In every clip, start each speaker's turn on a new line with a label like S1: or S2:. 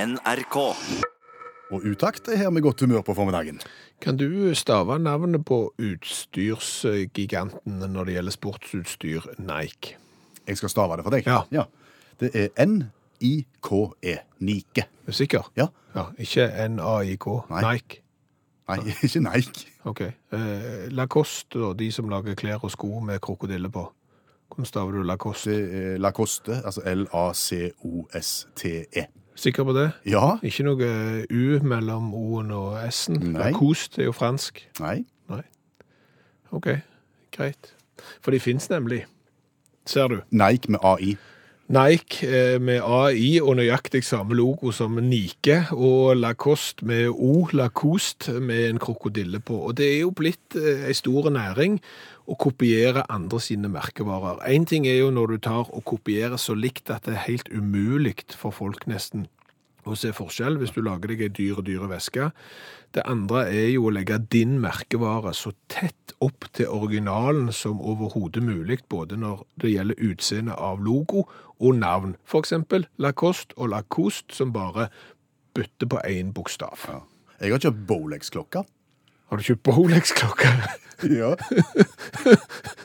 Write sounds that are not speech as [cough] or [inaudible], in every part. S1: NRK.
S2: Og utakt er her med godt humør på formiddagen.
S3: Kan du stave navnet på utstyrsgiganten når det gjelder sportsutstyr Nike?
S2: Jeg skal stave det for deg.
S3: Ja.
S2: Det er N-I-K-E. E. Nike.
S3: Er du sikker?
S2: Ja.
S3: Ja, ikke NAIK.
S2: Nei.
S3: Nike.
S2: Nei, [laughs] ikke Nike.
S3: Ok. Eh, Lacoste, da, de som lager klær og sko med krokodille på. Hvordan staver du Lacoste?
S2: Det er Lacoste, altså L-A-C-O-S-T-E.
S3: Sikker på det?
S2: E. Ja.
S3: Ikke noe eh, U mellom O-en og S-en?
S2: Nei.
S3: Lacoste er jo fransk.
S2: Nei.
S3: Nei. Ok, greit. For de finnes nemlig. Ser du?
S2: Nike med AI.
S3: Nike eh, med AI og nøyaktig samme logo som Nike, og Lacoste med O, Lacoste med en krokodille på. Og det er jo blitt eh, en stor næring å kopiere andre sine merkevarer. Én ting er jo når du tar og kopierer så likt at det er helt umulig for folk nesten å se forskjell hvis du lager deg ei dyr og dyre veske. Det andre er jo å legge din merkevare så tett opp til originalen som overhodet mulig, både når det gjelder utseende av logo og navn. For eksempel Lacoste og Lacoste, som bare bytter på én bokstav.
S2: Ja. Jeg har kjøpt
S3: [laughs]
S2: Bolex-klokka.
S3: Har du kjøpt
S2: [laughs]
S3: Rolex-klokke?
S2: Ja.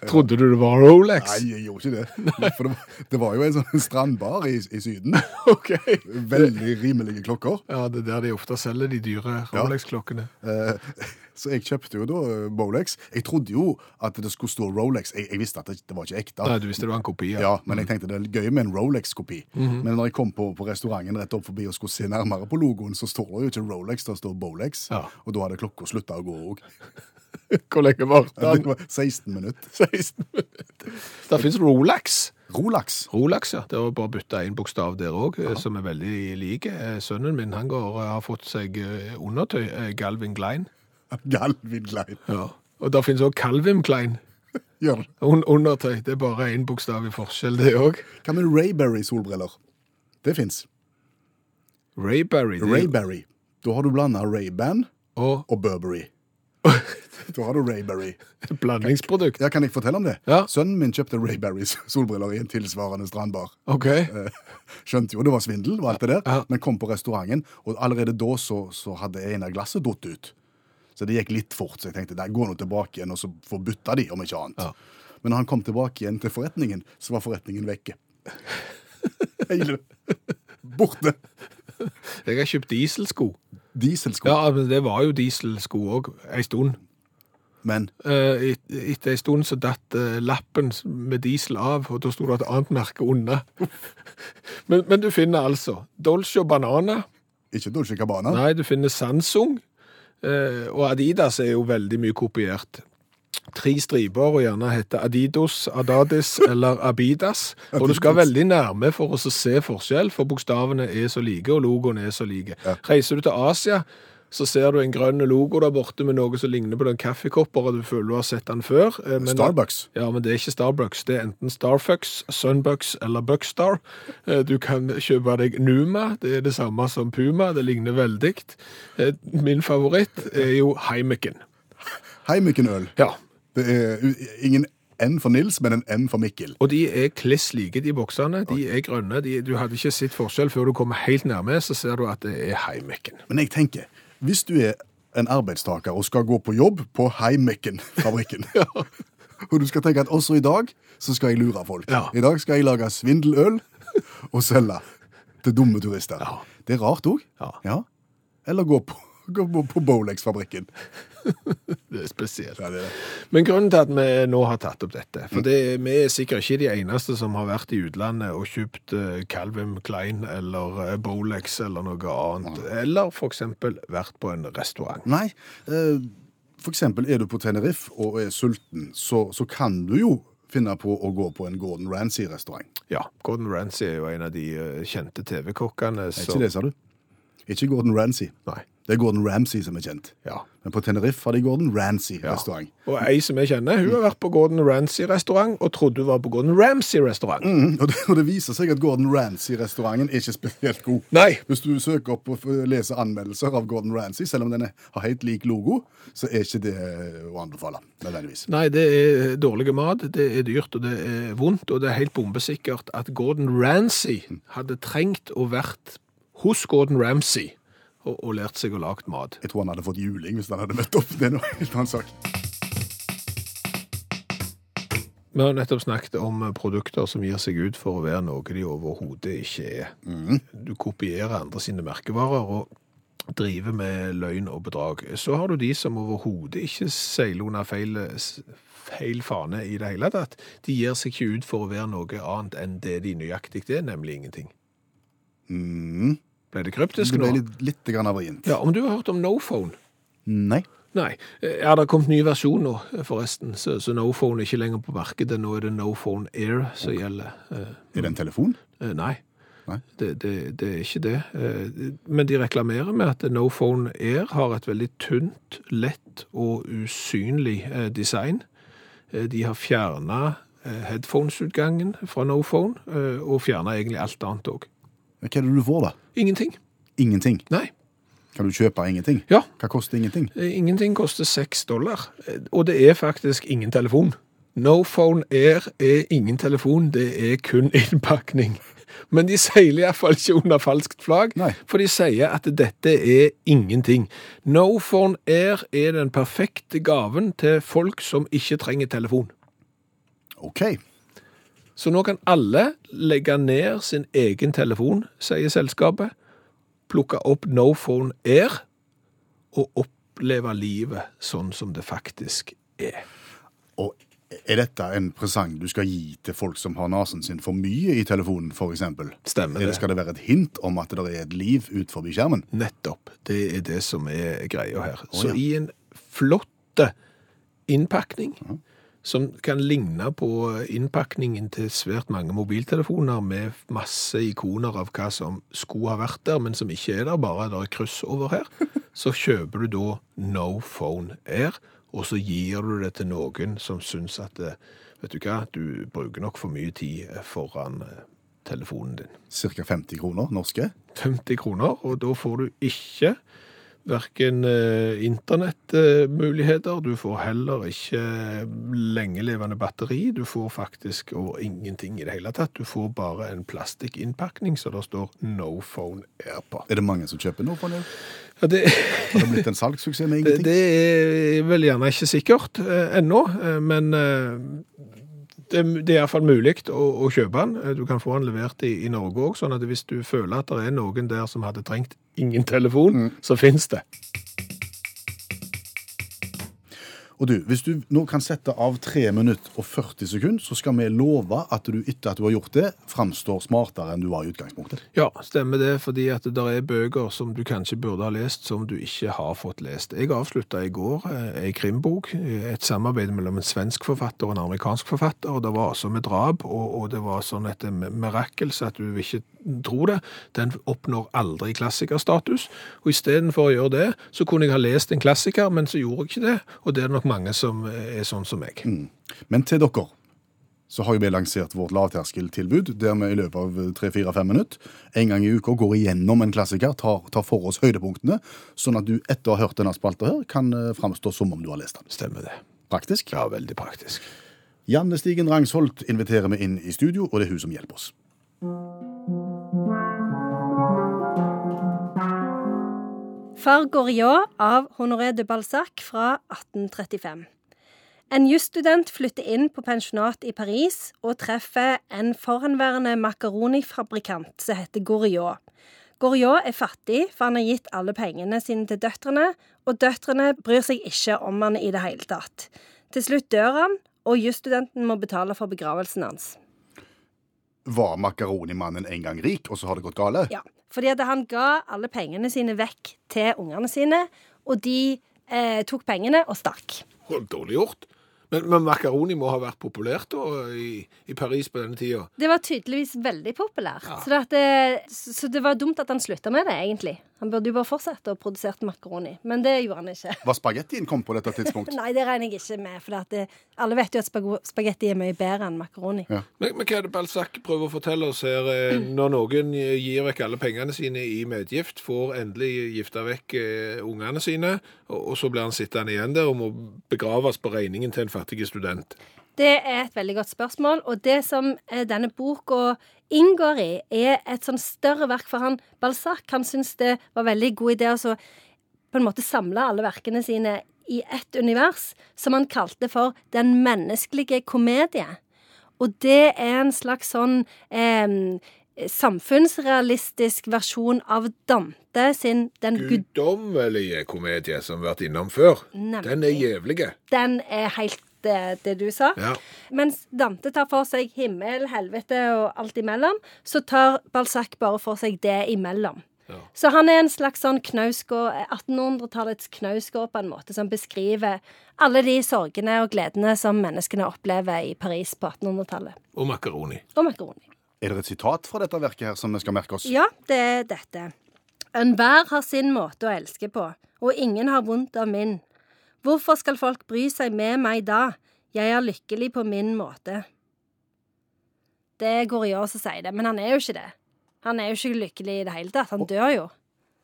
S3: Trodde du det var Rolex?
S2: Nei, jeg gjorde ikke det. For det var, det var jo en sånn strandbar i, i Syden.
S3: [laughs] Ok.
S2: Veldig rimelige klokker.
S3: Ja, det er der de ofte selger de dyre
S2: Ja.
S3: Rolex-klokkene.
S2: Eh, Så jeg kjøpte jo da eh, Bolex. Jeg trodde jo at det skulle stå Rolex. Jeg, jeg visste at det, det var ikke ekte.
S3: Nei, du visste det var en kopi.
S2: Ja, men jeg tenkte det er gøy med en Rolex-kopi.
S3: Mhm.
S2: Men når jeg kom på, på restauranten rett opp forbi og skulle se nærmere på logoen, så står det jo ikke Rolex, det står Bolex.
S3: Ja.
S2: Og da hadde klokka slutta å gå òg.
S3: [laughs] Hvor lenge varte
S2: Det
S3: den?
S2: var 16 minutter.
S3: [laughs] 16 minutter. Der finnes Rolex.
S2: Rolax.
S3: Rolex, ja. Det var bare å bytte en bokstav der òg, som er veldig lik. Eh, Sønnen min han går, eh, har fått seg eh, undertøy, eh, Galvin Klein.
S2: [laughs] Galvin Klein.
S3: Og der finnes òg Calvin Klein.
S2: Gjør det.
S3: Un undertøy. Det er bare én bokstav i forskjell, det òg.
S2: Hva med Rayberry-solbriller? Det fins.
S3: Rayberry. det-
S2: Rayberry. Da har du blanda Ray-Ban
S3: Og
S2: og Burberry.
S3: [laughs]
S2: Da har du Rayberry.
S3: et blandingsprodukt.
S2: Ja, Kan jeg fortelle om det?
S3: Ja.
S2: Sønnen min kjøpte [laughs] Rayberry-solbriller i en tilsvarende strandbar.
S3: OK.
S2: Eh, Skjønte jo det var svindel, og alt det der,
S3: Ja.
S2: men kom på restauranten, og allerede da så, så hadde en av glasset datt ut. Så det gikk litt fort, så jeg tenkte der går nå tilbake igjen, og så får bytta de, om ikke annet.
S3: Ja.
S2: Men når han kom tilbake igjen til forretningen, så var forretningen vekke. [laughs] Hele borte.
S3: Jeg har kjøpt dieselsko.
S2: Dieselsko.
S3: Ja, men det var jo dieselsko òg, ei stund.
S2: Men
S3: Eh, et- Etter en stund så datt eh, lappen med diesel av, og da sto det et annet merke unna. Men, men du finner altså Dolce og Banana.
S2: ikke Dolce Cabana.
S3: Nei, du finner Samsung. Eh, Og Adidas er jo veldig mye kopiert. Tre striper, og gjerne heter Adidos, Adadis eller Abidas. Og du skal veldig nærme for å så se forskjell, for bokstavene er så like, og logoen er så like. Reiser du til Asia, så ser du en grønn logo der borte med noe som ligner på den kaffekopper, og du føler du har sett den før. eh, men-
S2: Starbucks.
S3: ja, men det er ikke Starbucks. Det er enten Starfux, Sunbucks eller Buckstar. Eh, Du kan kjøpe deg Numa. Det er det samme som Puma. Det ligner veldig. Eh, Min favoritt er jo Heimeken.
S2: Heimykenøl.
S3: Ja.
S2: Det er u- ingen N for Nils, men en M for Mikkel.
S3: Og de er kliss like, de boksene. De er grønne. De, du hadde ikke sett forskjell før du kommer helt nærme, så ser du at det er Heimeken.
S2: Men jeg tenker, hvis du er en arbeidstaker og skal gå på jobb på
S3: [laughs]
S2: Heimekken-fabrikken, og du skal tenke at også i dag så skal jeg lure folk.
S3: Ja.
S2: I dag skal jeg lage svindeløl og selge til dumme turister. Det er rart òg.
S3: Ja.
S2: Eller gå på, [laughs] gå på, på Bolex-fabrikken.
S3: Det er spesielt.
S2: Ja, det er det.
S3: Men grunnen til at vi nå har tatt opp dette, for det, vi er sikkert ikke de eneste som har vært i utlandet og kjøpt eh, Calvin Klein eller eh, Bolex eller noe annet, eller for eksempel vært på en restaurant.
S2: Nei, eh, for eksempel er du på Tenerife og er sulten, så, så kan du jo finne på å gå på en Gordon Ramsay-restaurant.
S3: Ja, Gordon Ramsay er jo en av de eh, kjente TV-kokkene.
S2: Er
S3: som-
S2: ikke det, sa du? Ikke Gordon Ramsay.
S3: Nei,
S2: Det er Gordon Ramsay som er kjent.
S3: ja.
S2: Men på Tenerife har de Gordon
S3: ja.
S2: Ramsay-restaurant.
S3: Og ei som jeg kjenner, hun har vært på Gordon Ramsay-restaurant og trodde hun var på Gordon Ramsay-restaurant.
S2: Mm, og, det- og det viser seg at Gordon Ramsay-restauranten er ikke spesielt god.
S3: Nei,
S2: Hvis du søker opp og f- leser anmeldelser av Gordon Ramsay, selv om den er- har helt lik logo, så er ikke det eh, å anbefale, nødvendigvis.
S3: Nei, det er dårlig mat, det er dyrt og det er vondt, og det er helt bombesikkert at Gordon Ramsay hadde trengt å vært hos Gordon Ramsay og, og lært seg å lage mat.
S2: Jeg tror han hadde fått juling hvis han hadde møtt opp. Det er noe helt annen sak.
S3: Vi har nettopp snakket om eh, produkter som gir seg ut for å være noe de overhodet ikke er.
S2: Mm.
S3: Du kopierer andre sine merkevarer og driver med løgn og bedrag. Så har du de som overhodet ikke seiler under feil, feil fane i det hele tatt. De gir seg ikke ut for å være noe annet enn det de nøyaktig er, nemlig ingenting.
S2: Mm.
S3: Ble det
S2: Det
S3: kryptisk
S2: ble
S3: nå?
S2: litt, litt grann avrient.
S3: Ja, Om du har hørt om NoPhone?
S2: Nei.
S3: Nei. Ja, det har kommet ny versjon nå, forresten. Så, så NoPhone er ikke lenger på markedet. Nå er det NoPhone Air som gjelder. Eh,
S2: Er det en telefon?
S3: Eh, Nei.
S2: Nei?
S3: Det, det, det er ikke det. Eh, Men de reklamerer med at NoPhone Air har et veldig tynt, lett og usynlig eh, design. Eh, De har fjerna headphones-utgangen fra NoPhone, eh, og fjerna egentlig alt annet òg.
S2: Hva er det du får, da?
S3: Ingenting.
S2: Ingenting.
S3: Nei.
S2: Kan du kjøpe ingenting?
S3: Ja.
S2: Hva koster ingenting?
S3: eh, Ingenting koster seks dollar. Eh, Og det er faktisk ingen telefon. NoPhone Air er ingen telefon, det er kun [laughs] innpakning. Men de seiler iallfall ikke under falskt flagg.
S2: Nei.
S3: For de sier at dette er ingenting. NoPhone Air er den perfekte gaven til folk som ikke trenger telefon.
S2: OK.
S3: Så nå kan alle legge ned sin egen telefon, sier selskapet, plukke opp NoPhone Air og oppleve livet sånn som det faktisk er.
S2: Og er dette en presang du skal gi til folk som har nesen sin for mye i telefonen, f.eks.?
S3: Stemmer
S2: Eller
S3: det?
S2: skal det være et hint om at det er et liv ut forbi skjermen?
S3: Nettopp. Det er det som er greia her.
S2: ja.
S3: Så i en flotte innpakning, som kan ligne på innpakningen til svært mange mobiltelefoner med masse ikoner av hva som skulle ha vært der, men som ikke er der, bare det er kryss over her, så kjøper du da No Phone Air, og så gir du det til noen som syns at eh, Vet du hva, du bruker nok for mye tid eh, foran eh, telefonen din.
S2: Ca. 50 kroner norske?
S3: 50 kroner, og da får du ikke hverken eh, internettmuligheter, du får heller ikke eh, lengelevende batteri, du får faktisk og ingenting i det hele tatt. Du får bare en plastikkinnpakning, så det står No Phone Air på.
S2: Er det mange som kjøper nå? Pål Erik?
S3: Ja, det,
S2: Har det blitt en salgssuksess med
S3: [laughs] det,
S2: ingenting?
S3: det er vel gjerne ikke sikkert eh, ennå, eh, men eh, det, det er iallfall mulig å, å kjøpe den. Eh, Du kan få den levert i, i Norge òg, sånn at hvis du føler at det er noen der som hadde trengt ingen telefon, så fins det.
S2: Og du, Hvis du nå kan sette av 3 minutter og 40 sekunder, så skal vi love at du etter at du har gjort det, framstår smartere enn du var i utgangspunktet.
S3: Ja, stemmer det, fordi at det der er bøker som du kanskje burde ha lest, som du ikke har fått lest. Jeg avslutta i går eh, ei krimbok, eh, et samarbeid mellom en svensk forfatter og en amerikansk forfatter. og Det var altså med drap, og, og det var sånn et mirakel så at du vil ikke tro det. Den oppnår aldri klassikerstatus. Og istedenfor å gjøre det, så kunne jeg ha lest en klassiker, men så gjorde jeg ikke det. Og det er det nok mange som er sånn som meg.
S2: Men til dere så har jo vi lansert vårt lavterskeltilbud, der vi i løpet av 3-4-5 minutter en gang i uka går igjennom en klassiker, tar, tar for oss høydepunktene, sånn at du etter å ha hørt denne spalta her, kan eh, framstå som om du har lest den.
S3: Stemmer det.
S2: Praktisk.
S3: Ja, veldig praktisk.
S2: Janne Stigen Rangsholt inviterer vi inn i studio, og det er hun som hjelper oss.
S1: Fargoriot av Honoré de Balzac fra 1835. En jusstudent flytter inn på pensjonat i Paris og treffer en forhenværende makaronifabrikant som heter Goriot. Goriot er fattig, for han har gitt alle pengene sine til døtrene, og døtrene bryr seg ikke om han i det hele tatt. Til slutt dør han, og jusstudenten må betale for begravelsen hans.
S2: Var makaronimannen en gang rik, og så har det gått gale?
S1: Ja, fordi at han ga alle pengene sine vekk til ungene sine, og de eh, tok pengene og stakk.
S3: Og Dårlig gjort. Men, men makaroni må ha vært populært da, i, i Paris på denne tida.
S1: Det var tydeligvis veldig populært. Så, det at det, så det var dumt at han slutta med det, egentlig. Han burde jo bare fortsette å produsere makaroni, men det gjorde han ikke. [laughs]
S2: Var spagettien kom på dette tidspunkt?
S1: Nei, det regner jeg ikke med, for det at det, alle vet jo at spago- spagetti er mye bedre enn makaroni.
S2: Ja.
S3: Men, men hva er det Balzac prøver å fortelle oss her? eh, Når noen gir vekk alle pengene sine i medgift, får endelig gifta vekk eh, ungene sine, og, og så blir han sittende igjen der og må begraves på regningen til en fattig student.
S1: Det er et veldig godt spørsmål, og det som eh, denne boka inngår i, er et sånn større verk for han. Balzac han syntes det var veldig god idé å så på en måte samle alle verkene sine i ett univers, som han kalte for Den menneskelige komedie. Og det er en slags sånn eh, samfunnsrealistisk versjon av Dante sin Den gud...
S3: Guddommelige komedie som vi har vært innom før.
S1: Nemlig.
S3: Den er jævlige.
S1: Den er helt eh, det du sa.
S3: Ja.
S1: Mens Dante tar for seg himmel, helvete og alt imellom, så tar Balzac bare for seg det imellom.
S3: Ja.
S1: Så han er en slags sånn knausgård, 1800-tallets knausgård på en måte, som beskriver alle de sorgene og gledene som menneskene opplever i Paris på 1800-tallet.
S3: Og makaroni.
S1: Og makaroni.
S2: Er det et sitat fra dette verket her som vi skal merke oss?
S1: Ja, det er dette. Enhver har sin måte å elske på, og ingen har vondt av min. Hvorfor skal folk bry seg med meg da? Jeg er lykkelig på min måte. Det er Goriot som sier det, men han er jo ikke det. Han er jo ikke lykkelig i det hele tatt. Han dør jo.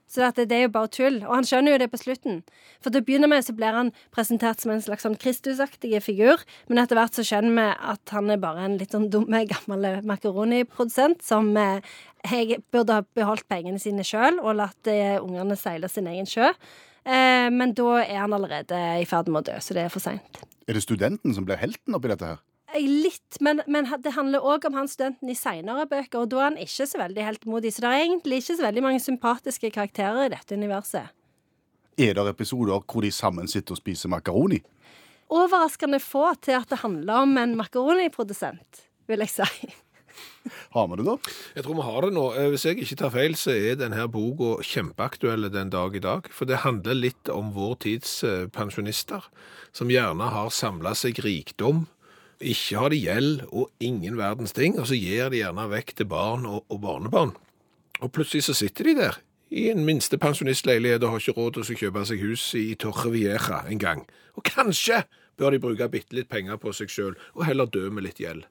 S1: Så at det, det er jo bare tull. Og han skjønner jo det på slutten. For til å begynne med så blir han presentert som en slags sånn Kristusaktig figur, men etter hvert så skjønner vi at han er bare en litt sånn dum, gammel makaroniprodusent som eh, jeg burde ha beholdt pengene sine sjøl og latt eh, ungene seile sin egen sjø. Eh, men da er han allerede i ferd med å dø, så det er for seint.
S2: Er det studenten som blir helten oppi dette her?
S1: Eh, Litt, men, men det handler òg om han studenten i seinere bøker, og da er han ikke så veldig heltmodig. Så det er egentlig ikke så veldig mange sympatiske karakterer i dette universet.
S2: Er det episoder hvor de sammen sitter og spiser makaroni?
S1: overraskende få til at det handler om en makaroniprodusent, vil jeg si.
S2: Har vi det, da?
S3: Jeg tror vi har det nå. Eh, Hvis jeg ikke tar feil, så er denne boka kjempeaktuell den dag i dag. For det handler litt om vår tids eh, pensjonister, som gjerne har samla seg rikdom. Ikke har de gjeld og ingen verdens ting, og så gir de gjerne vekk til barn og, og barnebarn. Og plutselig så sitter de der, i en minste pensjonistleilighet og har ikke råd til å kjøpe seg hus i Torre Vieja en gang. Og kanskje bør de bruke bitte litt penger på seg sjøl, og heller dø med litt gjeld.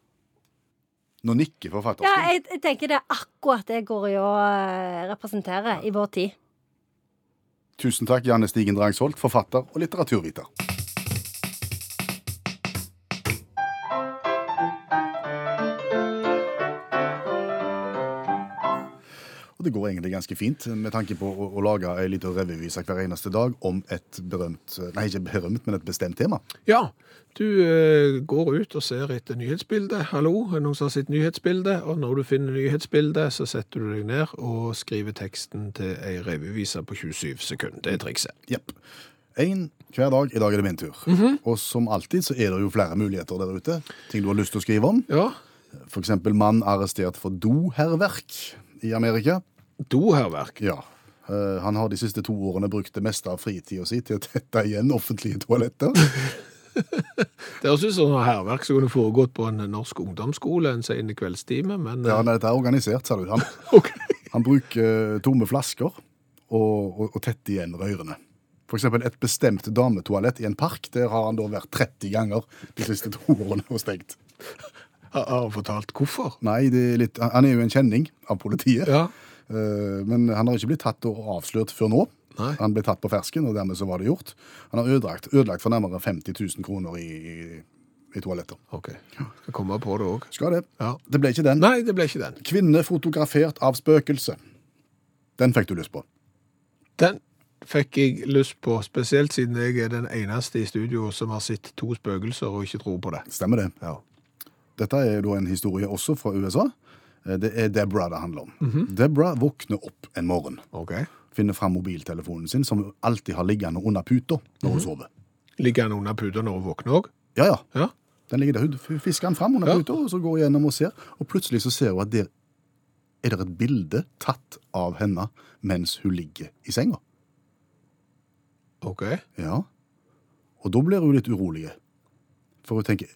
S2: Nå nikker forfatteren.
S1: Ja, jeg, jeg tenker det er akkurat det Goriot eh, representerer i vår tid.
S2: Tusen takk, Janne Stigen Drangsholt, forfatter og litteraturviter. Og Det går egentlig ganske fint, med tanke på å, å lage ei lita revyvise hver eneste dag om et berømt Nei, ikke berømt, men et bestemt tema.
S3: Ja, du eh, går ut og ser etter nyhetsbildet. Hallo, er det noen som har sett nyhetsbildet? Og når du finner nyhetsbildet, så setter du deg ned og skriver teksten til ei revyvise på 27 sekunder. Det er trikset.
S2: Jepp. Én hver dag. I dag er det min tur.
S1: Mhm.
S2: Og som alltid så er det jo flere muligheter der ute. Ting du har lyst til å skrive om.
S3: Ja,
S2: F.eks. mann arrestert for doherverk i Amerika.
S3: doherverk.
S2: Ja. Eh, Han har de siste to årene brukt det meste av fritida si til å tette igjen offentlige toaletter.
S3: Det høres ut som noe hærverk som kunne foregått på en norsk ungdomsskole en sen kveldstime, men
S2: Ja,
S3: eh,
S2: nei, dette er organisert, ser du. Han,
S3: [laughs] OK.
S2: han bruker eh, tomme flasker og, og, og tetter igjen rørene. For eksempel et bestemt dametoalett i en park. Der har han da vært 30 ganger de siste to årene og stengt.
S3: Har har han fortalt hvorfor?
S2: Nei, det er litt, han- han er jo en kjenning av politiet.
S3: Ja.
S2: Eh, Men han har ikke blitt tatt og avslørt før nå.
S3: Nei.
S2: Han ble tatt på fersken, og dermed så var det gjort. Han har ødelagt, ødelagt for nærmere 50 000 kroner i, i, i toaletter.
S3: OK. Skal komme på det òg.
S2: Skal det.
S3: Ja.
S2: Det ble ikke den.
S3: Nei, det ble ikke den.
S2: Kvinne fotografert av spøkelse. Den fikk du lyst på.
S3: Den fikk jeg lyst på, spesielt siden jeg er den eneste i studio som har sett to spøkelser og ikke tror på det.
S2: Stemmer det.
S3: Ja.
S2: Dette er da en historie også fra USA. Eh, Det er Deborah det handler om.
S3: Mhm.
S2: Deborah våkner opp en morgen,
S3: Ok.
S2: finner fram mobiltelefonen sin, som hun alltid har liggende under puta når hun
S3: Mhm.
S2: sover.
S3: Ligger han under puta når hun våkner òg?
S2: Ja, ja.
S3: Ja.
S2: Den ligger der. Hun f- fisker den fram under
S3: Ja.
S2: puta, og så går hun gjennom og ser. Og plutselig så ser hun at der er det et bilde tatt av henne mens hun ligger i senga.
S3: Ok.
S2: Ja. Og da blir hun litt urolig. For hun tenker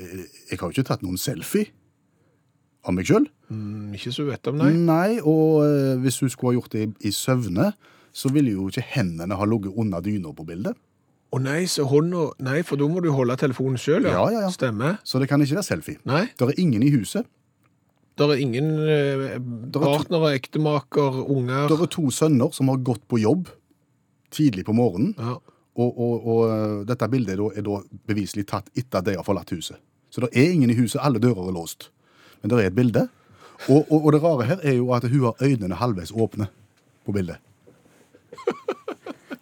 S2: eh, Jeg har jo ikke tatt noen selfie av meg sjøl.
S3: Mm, ikke så du vet om, nei.
S2: Nei. og eh, hvis hun skulle ha gjort det i, i søvne, så ville jo ikke hendene ha ligget under dyna på bildet.
S3: Å nei, så hånda Nei, for da må du holde telefonen sjøl,
S2: Ja, ja, ja.
S3: Stemmer.
S2: Så det kan ikke være selfie.
S3: Nei,
S2: Det er ingen i huset.
S3: det er ingen eh, partnere, ektemaker, unger
S2: Det er to sønner som har gått på jobb tidlig på morgenen.
S3: ja.
S2: Og, og, og eh, dette bildet er da, er da beviselig tatt etter at de har forlatt huset. Så det er ingen i huset. Alle dører er låst. Men det er et bilde. Og, og, og det rare her er jo at hun har øynene halvveis åpne på bildet.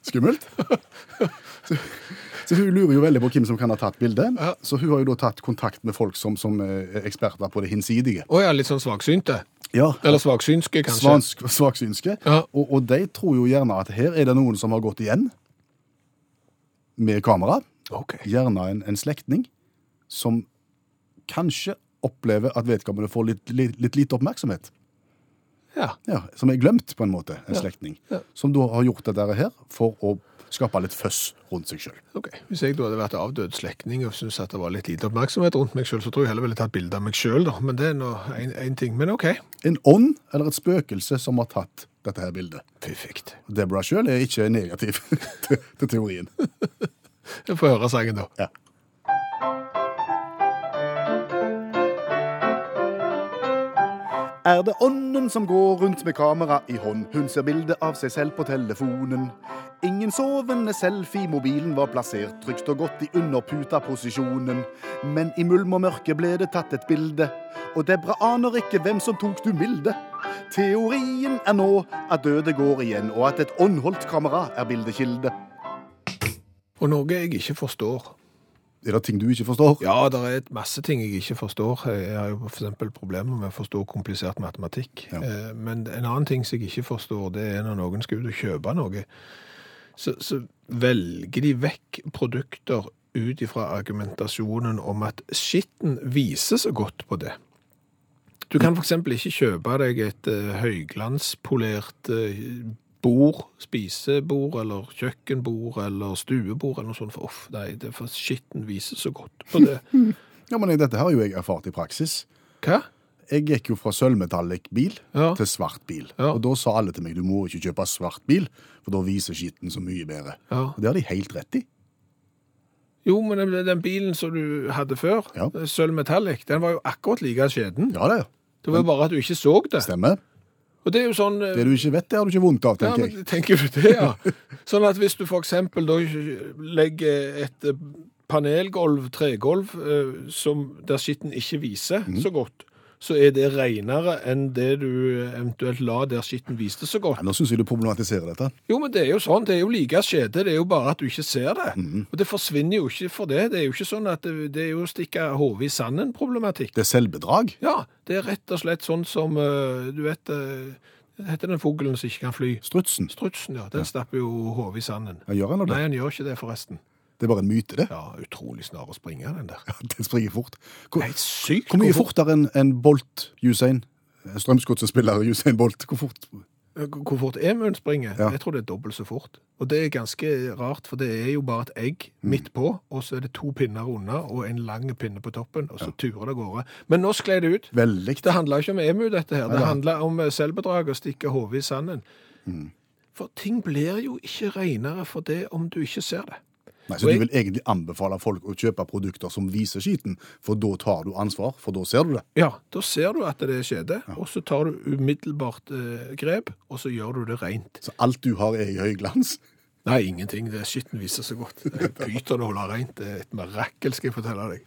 S2: Skummelt. Så hun lurer jo veldig på hvem som kan ha tatt bildet.
S3: Ja.
S2: Så hun har jo da tatt kontakt med folk som, som eh, er eksperter på det hinsidige.
S3: Å ja, litt sånn svaksynte.
S2: Ja,
S3: Eller svaksynske, kanskje.
S2: Svansk, svaksynske.
S3: Ja.
S2: Og, og de tror jo gjerne at her er det noen som har gått igjen med kamera.
S3: Ok.
S2: Gjerne en, en slektning som kanskje opplever at vedkommende får litt, litt, litt lite oppmerksomhet.
S3: Ja.
S2: Ja, som er glemt, på en måte. En slektning.
S3: Ja.
S2: Som da har gjort dette her for å skape litt føss rundt seg sjøl.
S3: Ok, Hvis jeg da hadde vært avdød slektning og syntes at det var litt lite oppmerksomhet rundt meg sjøl, så tror jeg heller ville tatt bilde av meg sjøl, da. Men det er nå én ting. Men OK.
S2: En ånd eller et spøkelse som har tatt dette her bildet.
S3: Perfekt.
S2: Deborah sjøl er ikke negativ [laughs] til, til teorien.
S3: Jeg får høre sangen, da.
S2: Ja. Er det ånden som går rundt med kamera i hånd? Hun ser bilde av seg selv på telefonen. Ingen sovende selfie, mobilen var plassert trygt og godt i underputa-posisjonen. Men i mulm og mørke ble det tatt et bilde, og Debra aner ikke hvem som tok du milde. Teorien er nå at døde går igjen, og at et åndholdt kamera er bildekilde.
S3: Og noe jeg ikke forstår.
S2: Er det ting du ikke forstår?
S3: Ja, det er et masse ting jeg ikke forstår. Jeg har jo f.eks. problemer med å forstå komplisert matematikk.
S2: Ja.
S3: Eh, Men en annen ting som jeg ikke forstår, det er når noen skal ut og kjøpe noe, så, så velger de vekk produkter ut ifra argumentasjonen om at skitten viser så godt på det. Du kan f.eks. ikke kjøpe deg et eh, høyglanspolert eh, bord, spisebord eller kjøkkenbord eller stuebord eller noe sånt, for uff, nei, det er for skitten viser så godt på
S2: [laughs]
S3: det.
S2: Ja, men Dette har jo jeg erfart i praksis.
S3: Hva?
S2: Jeg gikk jo fra sølvmetallic bil
S3: Ja.
S2: til svart bil.
S3: Ja.
S2: Og da sa alle til meg du må ikke kjøpe svart bil, for da viser skitten så mye bedre.
S3: Ja.
S2: Og det har de helt rett i.
S3: Jo, men den- den bilen som du hadde før,
S2: Ja.
S3: Sølv Metallic, den var jo akkurat like skjeden.
S2: Ja, det
S3: Det var jo bare at du ikke så det.
S2: stemmer.
S3: Og det er jo sånn eh,
S2: Det du ikke vet, det har du ikke vondt av,
S3: Ja,
S2: tenker jeg.
S3: men tenker du
S2: [laughs]
S3: det, ja. Sånn at hvis du for eksempel da legger et eh, panelgolv, tregolv, eh, som der skitten ikke viser
S2: Mhm.
S3: så godt, så er det renere enn det du eventuelt la der skitten viste så godt.
S2: Ja, nå syns jeg du problematiserer dette.
S3: Jo, men det er jo sånn, det er jo like skjede, det er jo bare at du ikke ser det.
S2: Mhm.
S3: Og det forsvinner jo ikke for det, det er jo ikke sånn at det, det er jo å stikke hovedet i sanden problematikk.
S2: Det er selvbedrag.
S3: Ja, det er rett og slett sånn som, eh, du vet, eh, det heter den fogelen som ikke kan fly.
S2: Strutsen.
S3: Strutsen, ja. Den stapper jo hodet i sanden.
S2: Ja, gjør han nå
S3: Nei,
S2: det?
S3: han gjør ikke det, forresten.
S2: Det er bare en myte, det.
S3: Ja, utrolig snar å springe,
S2: [laughs]
S3: den der.
S2: Den springer fort. Hvor,
S3: Nei, sykt.
S2: hvor mye
S3: hvor fort-
S2: fortere enn en Bolt Usain? Strømsgodset-spiller Usain Bolt. Hvor fort?
S3: Hvor fort emuen springer?
S2: Ja.
S3: Jeg tror det er dobbelt så fort. Og det er ganske rart, for det er jo bare et egg
S2: Mm.
S3: midt på, og så er det to pinner unna, og en lang pinne på toppen, og så turer det av gårde. Men nå skled det ut.
S2: Veldig.
S3: Det handler ikke om emu, dette her. Det
S2: det-
S3: handler om eh, selvbedrag og stikke hodet i sanden.
S2: Mm.
S3: For ting blir jo ikke renere for det om du ikke ser det.
S2: Nei, så du vil egentlig anbefale folk å kjøpe produkter som viser skiten, for da tar du ansvar, for da ser du det.
S3: Ja, da ser du at det skjedde, og så tar du umiddelbart eh, grep, og så gjør du det rent.
S2: Så alt du har er i høyglans.
S3: Nei, ingenting. Det skitten viser så godt. Det er Pyton å holde rent. Det er et mirakel, skal jeg fortelle deg.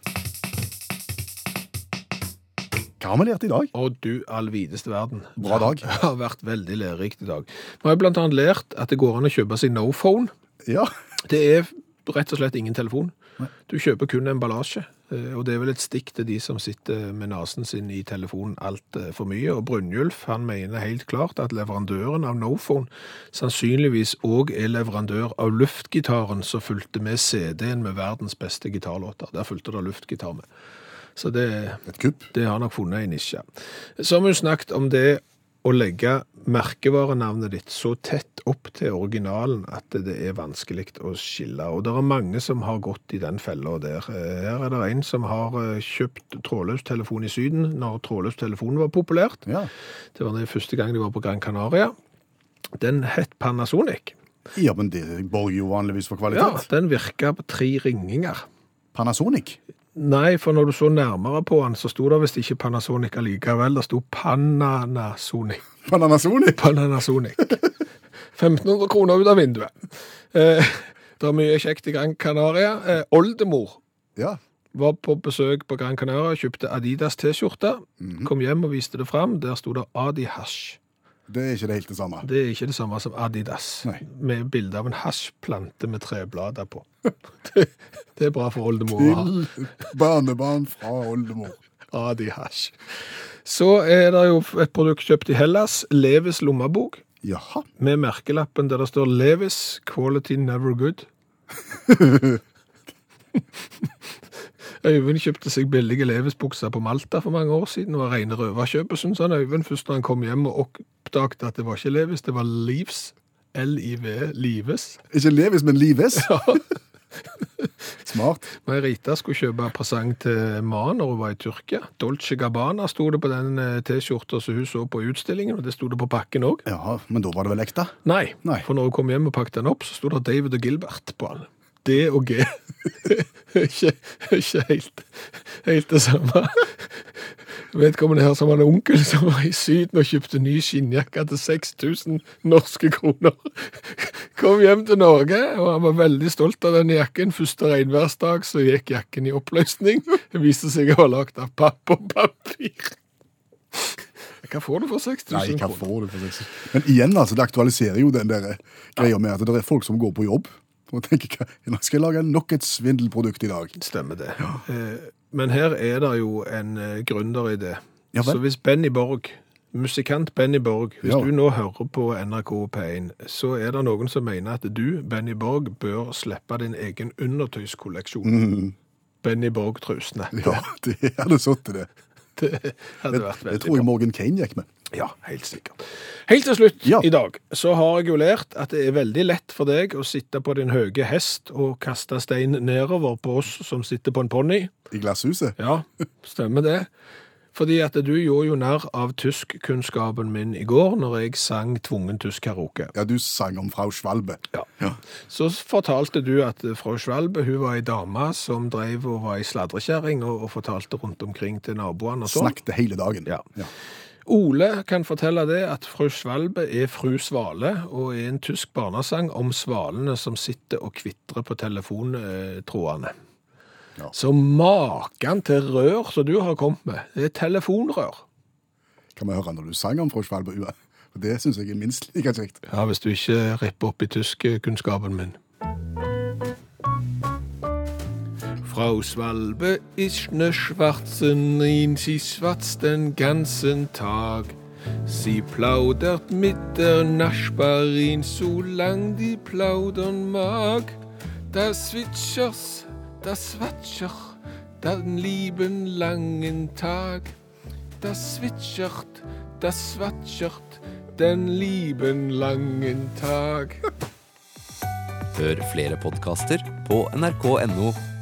S2: Hva har vi lært i dag?
S3: Og du all videste verden.
S2: Bra dag.
S3: Det har vært veldig lærerikt i dag. Vi har jo blant annet lært at det går an å kjøpe seg no-phone.
S2: Ja,
S3: Det er rett og slett ingen telefon. Du kjøper kun emballasje, eh, og det er vel et stikk til de som sitter med nasen sin i telefonen altfor mye. Og Brynjulf han mener helt klart at leverandøren av Nophone sannsynligvis òg er leverandør av luftgitaren som fulgte med CD-en med verdens beste gitarlåter. Der fulgte det luftgitar med. Så det,
S2: et kupp.
S3: det har nok funnet en nisje. Så har vi jo snakket om det å legge merkevarenavnet ditt så tett opp til originalen at det er vanskelig å skille. Og det er mange som har gått i den fella der. Eh, Her er det en som har eh, kjøpt trådløs telefon i Syden når trådløs telefon var populært.
S2: Ja.
S3: Det var den første gang de var på Gran Canaria. Den het Panasonic.
S2: ja, men det borger jo vanligvis for
S3: Ja,
S2: kvalitet.
S3: den virka på tre ringinger.
S2: Panasonic.
S3: Nei, for når du så nærmere på den, så sto det visst ikke Panasonic allikevel. Det sto Pananasonic.
S2: Panasonic?
S3: [laughs] Pananasonic. 1500 kroner ut av vinduet. Eh, det er mye kjekt i Gran Canaria. Eh, oldemor
S2: Ja.
S3: Var på besøk på Gran Canaria, kjøpte Adidas T-skjorte. Kom hjem og viste det fram. Der sto det Adi Hash.
S2: Det er ikke det helt det samme.
S3: Det er ikke det samme som Adidas,
S2: Nei.
S3: med bilde av en hasjplante med treblader på. [laughs] det, det er bra for oldemor å ha.
S2: barnebarn fra oldemor.
S3: Adi Hash. Så er det jo et produkt kjøpt i Hellas, Levis lommebok,
S2: Jaha.
S3: med merkelappen der det står Levis Quality Never Good. Øyvind kjøpte seg billige Levis-bukser på Malta for mange år siden. Det var rene røverkjøpet, syntes han Øyvind, først når han kom hjem og oppdaget at det var ikke Levis, det var Leaves. L-I-V, Lives.
S2: Ikke Levis, men Lives. Smart.
S3: Men Rita skulle kjøpe presang til mannen når hun var i Tyrkia. Dolce Gabbana sto det på den eh, T-skjorta som hun så på utstillingen, og det sto det på pakken òg.
S2: Ja, men da var det vel ekte?
S3: Nei,
S2: Nei.
S3: for når hun kom hjem og pakket den opp, så sto det David og Gilbert på den. D og G. [laughs] ikke ikke helt, helt det samme. Vedkommende her som var en onkel som var i Syden og kjøpte ny skinnjakke til 6000 norske kroner. Kom hjem til Norge, og han var veldig stolt av denne jakken. Første regnværsdag så gikk jakken i oppløsning. Det viste seg å være lagd av papp og papir. Hva får du for 6000
S2: Nei, hva
S3: kroner?
S2: får du for seg? Men igjen, altså, det aktualiserer jo den der greia med at det er folk som går på jobb og tenker hva, nå skal jeg lage nok et svindelprodukt i dag.
S3: Stemmer det. Eh, Men her er det jo en eh, gründer i det.
S2: Ja vel.
S3: Så hvis Benny Borg, musikant Benny Borg, hvis
S2: Ja.
S3: du nå hører på NRK P1, så er det noen som mener at du, Benny Borg, bør slippe din egen undertøyskolleksjon. Benny Borg-trusene.
S2: Mhm. Ja, [laughs] det hadde satt til det.
S3: [laughs] Det hadde vært
S2: Det
S3: veldig
S2: tror jeg Morgan Kane gikk med.
S3: ja, helt sikkert. Helt til slutt
S2: Ja.
S3: i dag så har jeg jo lært at det er veldig lett for deg å sitte på din høye hest og kaste stein nedover på oss som sitter på en ponni.
S2: I glasshuset.
S3: Ja, stemmer det. Fordi at du gjorde jo nær av tyskkunnskapen min i går når jeg sang tvungen tysk karaoke.
S2: Ja, du sang om Frau Schwalbe.
S3: Ja.
S2: Ja.
S3: Så fortalte du at fru Schwalbe hun var ei dame som drev og var ei sladrekjerring og, og fortalte rundt omkring til naboene og sånn.
S2: Snakket hele dagen.
S3: Ja. Ole kan fortelle det at fru Schwalbe er fru Svale og er en tysk barnesang om svalene som sitter og kvitrer på telefontrådene.
S2: Ja.
S3: Så maken til rør som du har kommet med. Det er telefonrør.
S2: Kan vi høre når du sang om Frau Schwalbe? Ua? Det syns jeg er minst like kjekt.
S3: Ja, hvis du ikke øh, ripper opp i tyskkunnskapen min. Frau Svalbe ist ne Schwarzen, in sie schwatzt den ganzen Tag. Sie plaudert mit der Nachbarin, solang die plaudern mag. Das Zwitschers, das Watscher, den lieben langen Tag. Das zwitschert, das zwatschert den lieben langen Tag.
S4: Hør flere podkaster på nrk.no